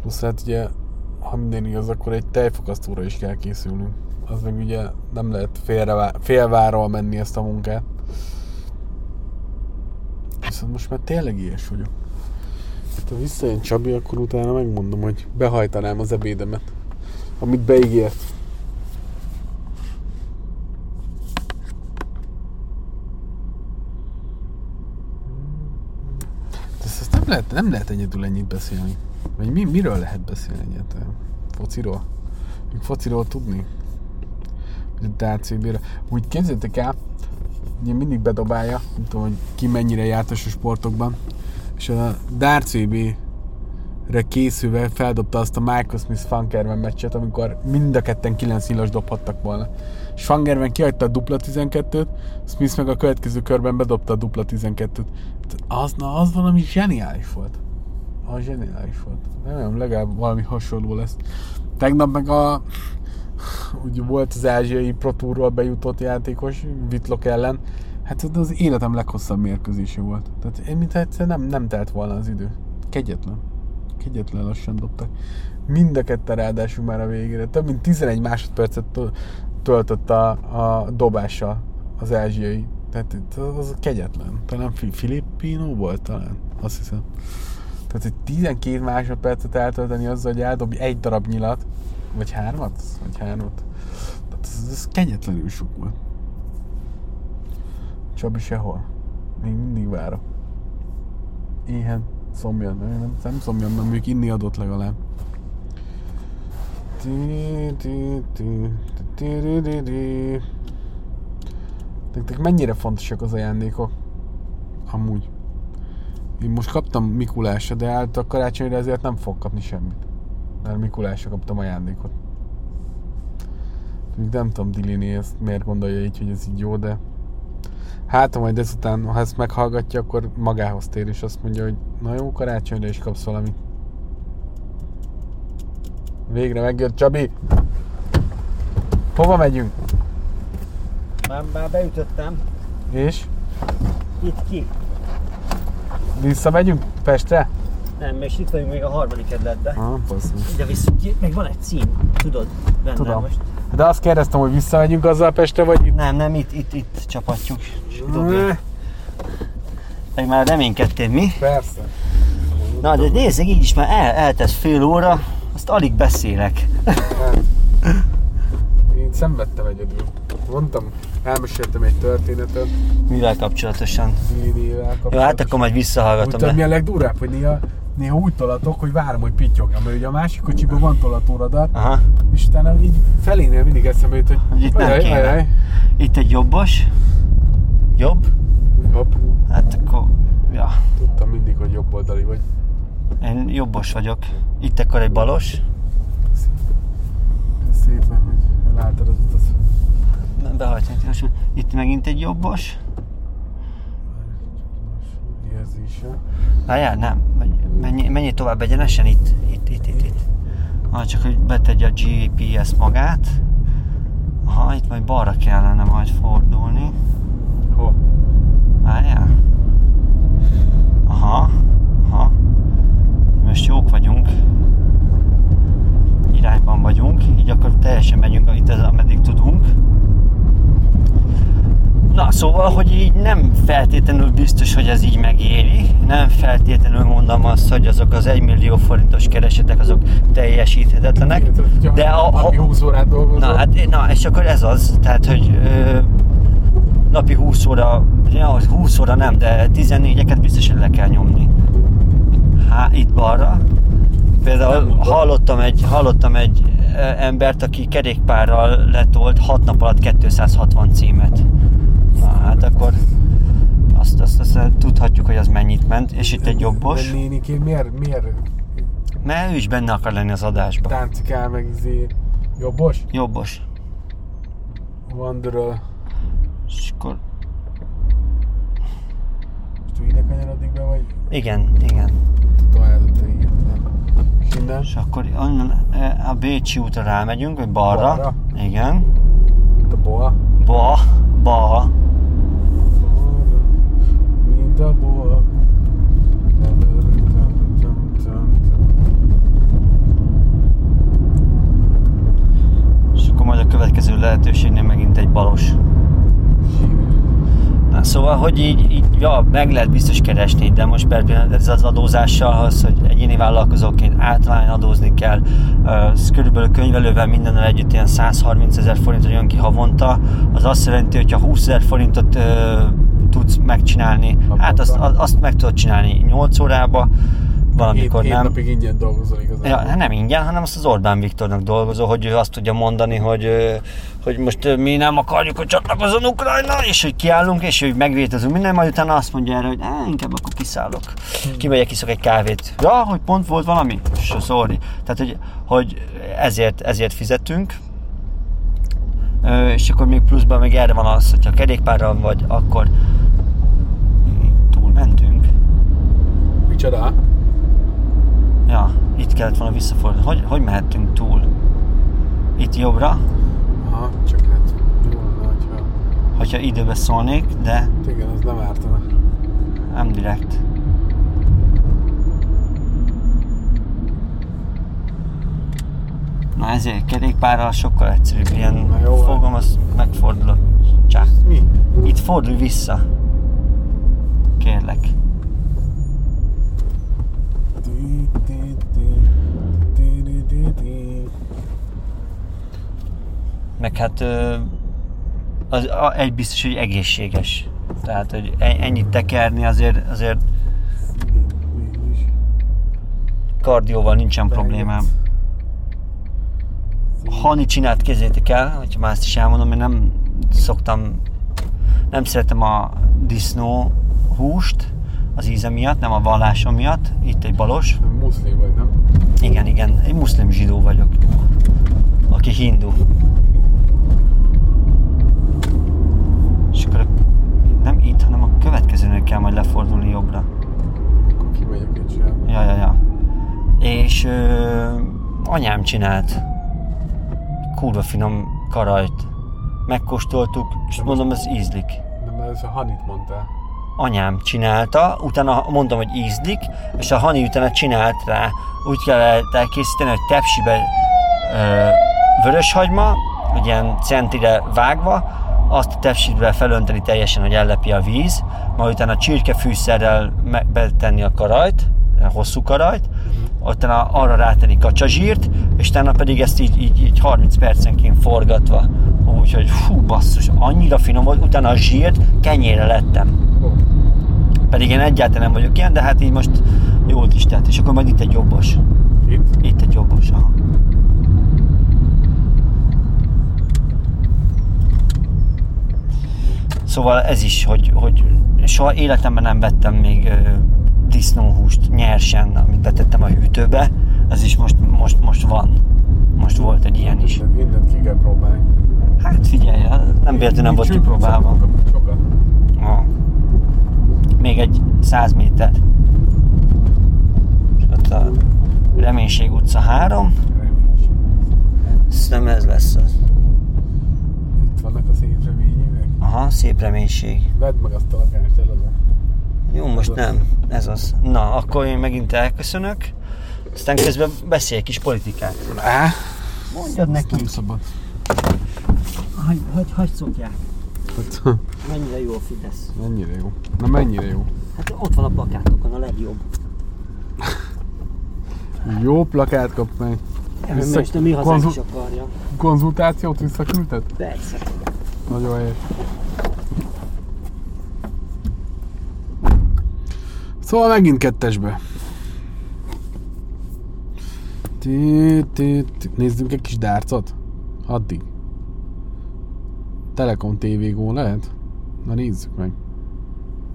Plusz hát ugye, ha minden igaz, akkor egy tejfokasztóra is kell készülnünk. Az meg ugye nem lehet félre, félváról menni ezt a munkát. Viszont most már tényleg ilyes vagyok. Hát, ha visszajön Csabi, akkor utána megmondom, hogy behajtanám az ebédemet, amit beígért. Ez, ez nem, lehet, nem lehet egyedül ennyit beszélni. Vagy mi, miről lehet beszélni egyáltalán? Fociról? Még fociról tudni? Vagy a DCB-re? Úgy képzeljétek el, ugye mindig bedobálja, nem tudom, hogy ki mennyire jártas a sportokban, és a DCB re készülve feldobta azt a Michael Smith Funkerman meccset, amikor mind a ketten 9 nyilas dobhattak volna. És Funkerman kihagyta a dupla 12-t, Smith meg a következő körben bedobta a dupla 12-t. Az, na, az valami zseniális volt. A zseniális volt. Nem, nem, legalább valami hasonló lesz. Tegnap meg a... Ugye volt az ázsiai Pro Tourról bejutott játékos Vitlok ellen. Hát ez az életem leghosszabb mérkőzése volt. Tehát én, mintha egyszer nem, nem telt volna az idő. Kegyetlen. Kegyetlen lassan dobtak. Mind a ketten ráadásul már a végére. Több mint 11 másodpercet töl- töltött a, a dobással az ázsiai. Tehát itt az, az kegyetlen. Talán fi- Filippino volt talán. Azt hiszem. Tehát egy 12 másodpercet eltölteni azzal, hogy eldobj egy darab nyilat, vagy hármat, vagy hármat. Tehát ez, ez kegyetlenül sok volt. Csabi sehol. Még mindig várom. Éhen, szomjan. Nem, nem, nem szomjan, mert még inni adott legalább. Ti, ti, ti, ti, ti, ri, ri, ri. Nektek mennyire fontosak az ajándékok? Amúgy. Én most kaptam Mikulásra, de állt a karácsonyra ezért nem fog kapni semmit. Mert Mikulásra kaptam ajándékot. Még nem tudom Dilini ezt miért gondolja így, hogy ez így jó, de hát ha majd ezután, ha ezt meghallgatja, akkor magához tér, és azt mondja, hogy na jó, karácsonyra is kapsz valamit. Végre megjött Csabi! Hova megyünk? Már, már beütöttem. És? Itt ki? Visszamegyünk Pestre? Nem, és itt vagyunk még a harmadik kerületben. Ah, basszus. Ide visszük ki. Még van egy cím, tudod? Benne Tudom. Most. De Hát azt kérdeztem, hogy visszamegyünk azzal Pestre, vagy itt? Nem, nem, itt, itt, itt csapatjuk. És dobjuk. Meg már reménykedtél mi. Persze. Na, de nézzük, így is már el, eltett fél óra, azt alig beszélek. Én szenvedtem egyedül. Mondtam, elmeséltem egy történetet Mivel kapcsolatosan? Lilivel Jó, hát akkor majd visszahallgatom. Úgy, mi a legdurvább, hogy néha, néha úgy tolatok, hogy várom, hogy pittyogjon, mert ugye a másik kocsiban van tolatóradarat, Aha. és utána így felénél mindig eszembe jut, hogy Hogy itt nem ajaj, kéne. ajaj. Itt egy jobbos. Jobb? Hopp, Hát akkor... Ja. tudtam mindig, hogy jobb oldali vagy. Én jobbos vagyok. Itt akkor egy balos. Szépen, hogy láttad az utat. Nem behajtani tilos. Itt megint egy jobbos. Érzése. Várjál, nem. Menj, menj tovább egyenesen itt. Itt, itt, itt, itt. Ah, csak hogy betegye a GPS magát. Aha, itt majd balra kellene majd fordulni. Hol? Várjál. Aha. Aha. Most jók vagyunk. Irányban vagyunk, így akkor teljesen megyünk itt ez, ameddig tudunk. Na, szóval, hogy így nem feltétlenül biztos, hogy ez így megéri. Nem feltétlenül mondom azt, hogy azok az 1 millió forintos keresetek, azok teljesíthetetlenek. De a, ha, Napi 20 órát dolgozol. Na, hát, na, és akkor ez az, tehát, hogy ö, napi 20 óra, ja, az 20 óra nem, de 14-eket biztosan le kell nyomni. Há, itt balra. Például hallottam egy, hallottam egy ö, embert, aki kerékpárral letolt 6 nap alatt 260 címet. Na, hát akkor azt, azt, azt, azt tudhatjuk, hogy az mennyit ment, és itt egy jobbos, De néniké, miért, miért mert ő is benne akar lenni az adásban. táncikál meg izé jobbos? Jobbos. Vandről. És akkor Most ide kanyarodik be, vagy igen, igen. tovább igen. És innen? És akkor onnan eh, a Bécsi útra rámegyünk, vagy balra. Balra. Igen. Itt a boa. Ba, ba. Boa, Mint a boa. És akkor majd a következő lehetőségnél megint egy balos. Na, szóval, hogy így, így ja, meg lehet biztos keresni, de most per pillanat ez az adózással az, hogy egyéni vállalkozóként általán adózni kell, Ö, ez körülbelül könyvelővel mindennel együtt ilyen 130 ezer forintot jön ki havonta, az azt jelenti, hogy ha 20 ezer forintot ö, tudsz megcsinálni, hát azt, Naponta. azt meg tudod csinálni 8 órába, valamikor hét, nem. Hét napig ingyen dolgozol igazán. Ja, hát nem ingyen, hanem azt az Orbán Viktornak dolgozó, hogy ő azt tudja mondani, hogy, ö, hogy most ö, mi nem akarjuk, hogy csatlakozzon Ukrajna, és hogy kiállunk, és hogy megvétezünk minden, majd utána azt mondja erre, hogy "Á, inkább akkor kiszállok. Kimegyek, iszok egy kávét. Ja, hogy pont volt valami? So, sorry. Tehát, hogy, hogy ezért, ezért fizetünk, Ö, és akkor még pluszban még erre van az, hogyha kerékpárral vagy, akkor túlmentünk. Micsoda? Ja, itt kellett volna visszafordulni. Hogy, hogy mehettünk túl? Itt jobbra, Aha, csak hát jó lenne, hogyha... hogyha időbe szólnék, de Igen, az nem ártana. nem direkt. Na ezért kerékpárral sokkal egyszerűbb, ilyen Na jó. fogom, az megfordulok. Csá. Mi? Itt fordulj vissza. Kérlek. Ti, ti, ti, ti, ti, ti, ti. Meg hát ö, az, a, egy biztos, hogy egészséges. Tehát, hogy e- ennyit tekerni azért, azért Igen, mégis. kardióval nincsen problémám. Hani csinált kezétek el, hogyha már ezt is elmondom, én nem szoktam, nem szeretem a disznó húst az íze miatt, nem a vallásom miatt, itt egy balos. Muszlim vagy, nem? Igen, igen, egy muszlim zsidó vagyok, aki hindu. És akkor a- nem itt, hanem a következőnél kell majd lefordulni jobbra. Akkor kimegyek egy zsába. Ja, ja, ja. És ö, anyám csinált kurva finom karajt. Megkóstoltuk, és mondom, ez ízlik. Nem, ez a Hanit mondtál. Anyám csinálta, utána mondom, hogy ízlik, és a Hani utána csinált rá. Úgy kellett elkészíteni, hogy tepsibe ö, vöröshagyma, egy ilyen centire vágva, azt a tepsibe felönteni teljesen, hogy ellepi a víz, majd utána csirkefűszerrel me- betenni a karajt, a hosszú karajt, utána arra rátenni kacsazsírt, és utána pedig ezt így, így, így 30 percenként forgatva. Úgyhogy fú, basszus, annyira finom volt, utána a zsírt kenyére lettem. Ó, Pedig én egyáltalán nem vagyok ilyen, de hát így most jót is tett. És akkor majd itt egy jobbos. itt? Itt egy jobbos, aha. Szóval ez is, hogy, hogy soha életemben nem vettem még ö, disznóhúst nyersen, amit betettem a hűtőbe. Ez is most, most, most van. Most volt egy ilyen is. Mindent, mindent ki kell próbálni. Hát figyelj, nem véletlenül nem volt kipróbálva. Sokat. Ah. Még egy 100 méter. És ott a Reménység utca 3. Reménység. Szerintem ez lesz az. Itt vannak a szép remények. Aha, szép reménység. Vedd meg azt a lakást, eladom. Jó, most nem. Ez az. Na, akkor én megint elköszönök. Aztán közben beszélj egy kis politikát. Á, Mondjad neki, szabad. hagy, hagy, hagy szokják. Hát, Mennyire jó a Fidesz. mennyire jó. Na mennyire jó. Hát ott van a plakátokon a legjobb. Jó plakát kap meg. Vissza- Vissza... Most a mi hazánk konzul- is akarja. Konzultációt visszaküldted? Persze. Nagyon helyes. Szóval megint kettesbe. Ti, ti, ti. Nézzünk egy kis dárcot? Addig. Telekom TVGO lehet? Na nézzük meg.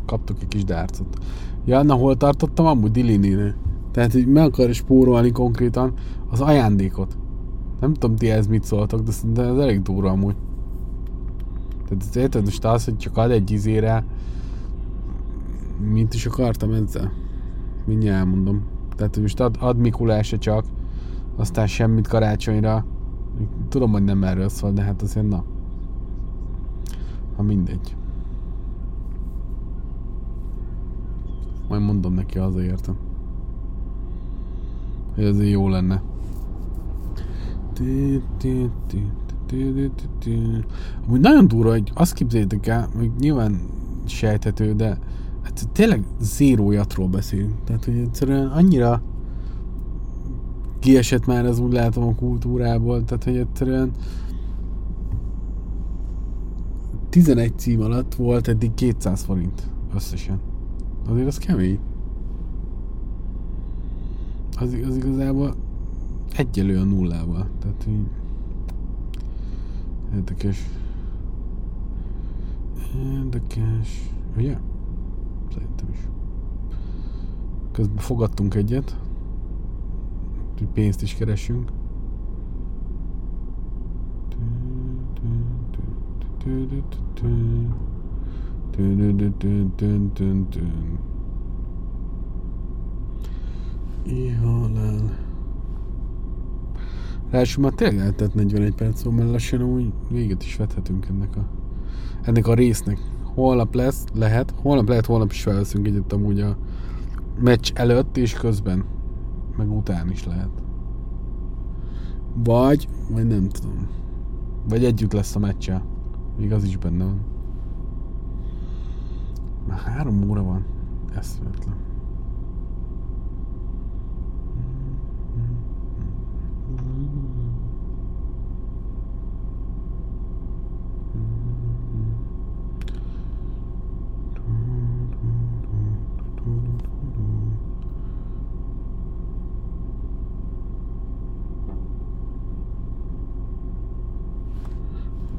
Kaptuk egy kis dárcot. Ja, na hol tartottam? Amúgy Dilinél. Tehát így meg akar spórolni konkrétan az ajándékot. Nem tudom ti ez mit szóltak, de szerintem ez elég durva amúgy. Tehát ez érted, most az, hogy csak ad egy izére, mint is akartam ezzel? Mindjárt elmondom. Tehát, hogy most ad, ad Mikulásra csak, aztán semmit karácsonyra. Tudom, hogy nem erről szól, de hát azért na. Ha mindegy. Majd mondom neki, hazaértem. Hogy azért jó lenne. Ti, ti, ti, ti, ti, ti, ti. Amúgy nagyon durva, hogy azt képzeljétek el, hogy nyilván sejthető, de hát tényleg zéró jatról beszélünk. Tehát, hogy egyszerűen annyira kiesett már ez úgy látom a kultúrából, tehát, hogy egyszerűen 11 cím alatt volt eddig 200 forint összesen. Azért az kemény. Az, az igazából egyelő a nullával. Tehát így érdekes. Érdekes. Ugye? Szerintem is. Közben fogadtunk egyet. Úgyhogy Pénzt is keresünk. Ihalál. Ráadásul már tényleg eltett 41 perc, szóval már lassan úgy véget is vethetünk ennek a, ennek a résznek. Holnap lesz, lehet, holnap lehet, holnap is felveszünk egyet amúgy a meccs előtt és közben, meg után is lehet. Vagy, vagy nem tudom. Vagy együtt lesz a meccsel. Még az is benne van. Már három óra van. Eszméletlen.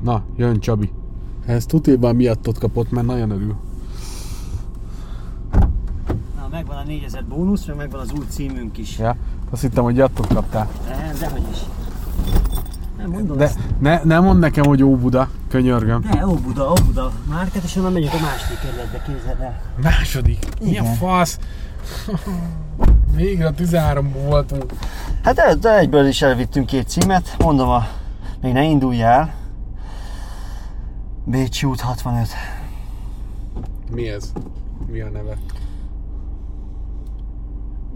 Na, jön Csabi. Ez tutéban miattot kapott, mert nagyon örül. Na, megvan a 4000 bónusz, meg megvan az új címünk is. Ja? Azt hittem, hogy jattot kaptál. Nem, dehogy is. Nem mondom De ezt. ne, ne mondd nekem, hogy Óbuda, könyörgöm. De, Óbuda, Óbuda. Márket, és onnan megyünk a másik kerületbe, képzeld el. Második. Milyen Igen. fasz? Végre 13 voltunk. Hát de, de egyből is elvittünk két címet. Mondom, a, még ne indulj el. Bécsi út 65. Mi ez? Mi a neve?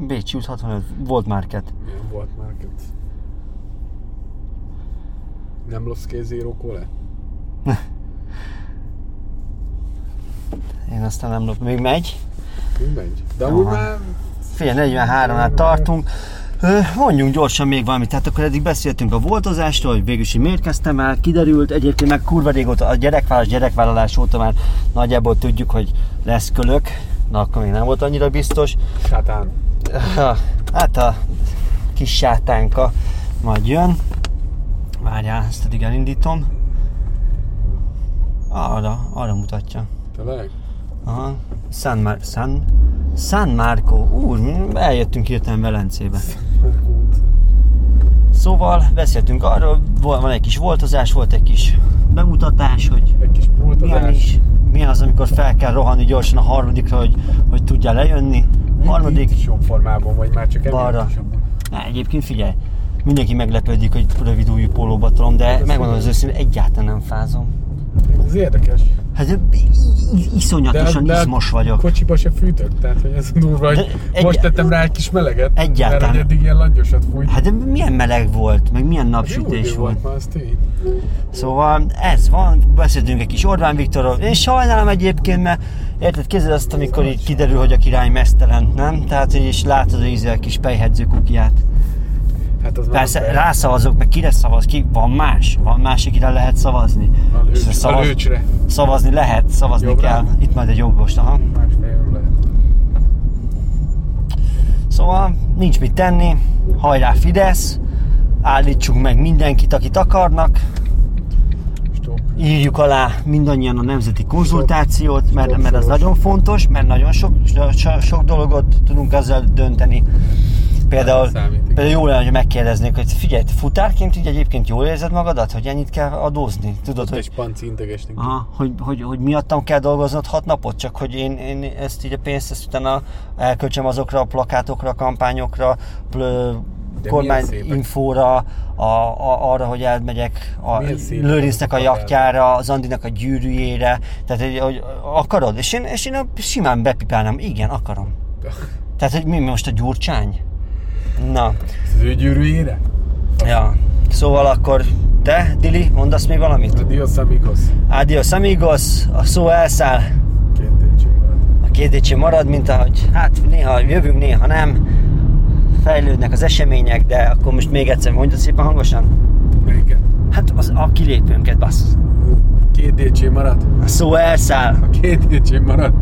Bécsi út 65. Volt Márket. Milyen volt market? Nem Los Zero Cole? Én aztán nem lop. Még megy. Mi megy? De úgy Aha. már Fél 43-nál tartunk. Ö, Mondjunk gyorsan még valamit, tehát akkor eddig beszéltünk a voltozásról, hogy végül is hogy miért kezdtem el, kiderült, egyébként meg kurva régóta, a gyerekvállalás, gyerekvállalás óta már nagyjából tudjuk, hogy lesz kölök, na akkor még nem volt annyira biztos. sátán. Ha, Hát a kis sátánka majd jön. Várjál, ezt eddig elindítom. Arra, arra mutatja. Tényleg? Aha. San, Mar- San, San Marco. Úr, eljöttünk hirtelen Velencébe. Szóval beszéltünk arról, vol- van egy kis voltozás, volt egy kis bemutatás, hogy Egy kis milyen, pultozás. is, milyen az, amikor fel kell rohanni gyorsan a harmadikra, hogy, hogy tudjál lejönni. Harmadik, Itt is jobb formában vagy, már csak emiatt Balra. is amúgy. Á, egyébként figyelj, mindenki meglepődik, hogy rövid újú pólóba tolom, de megmondom az őszintén, egyáltalán nem fázom. Ez érdekes. Hát i- i- iszonyatosan de izmos vagyok. kocsiba se fűtött, tehát hogy ez durva, hogy egy- most tettem rá egy kis meleget, Egyáltalán. mert hogy eddig ilyen langyosat fújt. Hát de milyen meleg volt, meg milyen Hát Jó napsütés idő volt. volt már, az tény. Szóval ez van, beszéltünk egy kis Orbán Viktorról. Én sajnálom egyébként, mert érted, képzeld azt, amikor így kiderül, hogy a király mesztelen, nem? Tehát, hogy is látod, hogy ízel kis pejhedző kukiát. Hát az már Persze, be- rászavazok, meg kire szavaz ki? Van más? Van más, akire lehet szavazni? A, lőcs, És a lőcsre. szavazni lehet, szavazni Jobbra? kell. Itt majd egy jobbos, aha. Másfél nem lehet. Szóval nincs mit tenni, hajrá Fidesz, állítsunk meg mindenkit, akit akarnak, Stop. írjuk alá mindannyian a nemzeti konzultációt, mert, mert az nagyon fontos, mert nagyon sok, so, sok dologot tudunk ezzel dönteni. Például, Hát, Számít, igen. például jó lenne, hogy megkérdeznék, hogy figyelj, te futárként így egyébként jól érzed magadat, hogy ennyit kell adózni? Tudod, hogy Egy panci integesnek. Szóval- Aha, hogy, hogy, hogy miattam kell dolgoznod hat napot, csak hogy én, én ezt így a pénzt ezt utána elköltsem azokra a plakátokra, kampányokra, plö, De milyen szépek. kormányinfóra, a, a, arra, hogy elmegyek a Milyen szépek Lőrincnek a azok a plakátok. jachtjára, az Andinak a gyűrűjére, tehát hogy, hogy akarod, és én, és én a- simán bepipálnám, igen, akarom. Tehát, hogy mi most a gyurcsány? Na, Ez az ő gyűrűjére? ja. Szóval akkor te, Dili, mondasz még valamit? Adios amigos. Adios amigos, a szó elszáll, Két tétség van. a két étség marad, mint ahogy hát néha jövünk, néha nem, fejlődnek az események, de akkor most még egyszer mondja szépen hangosan. Igen. Hát az a kilépőnket, bassz. Két tétség marad. A szó elszáll. Két tétség marad.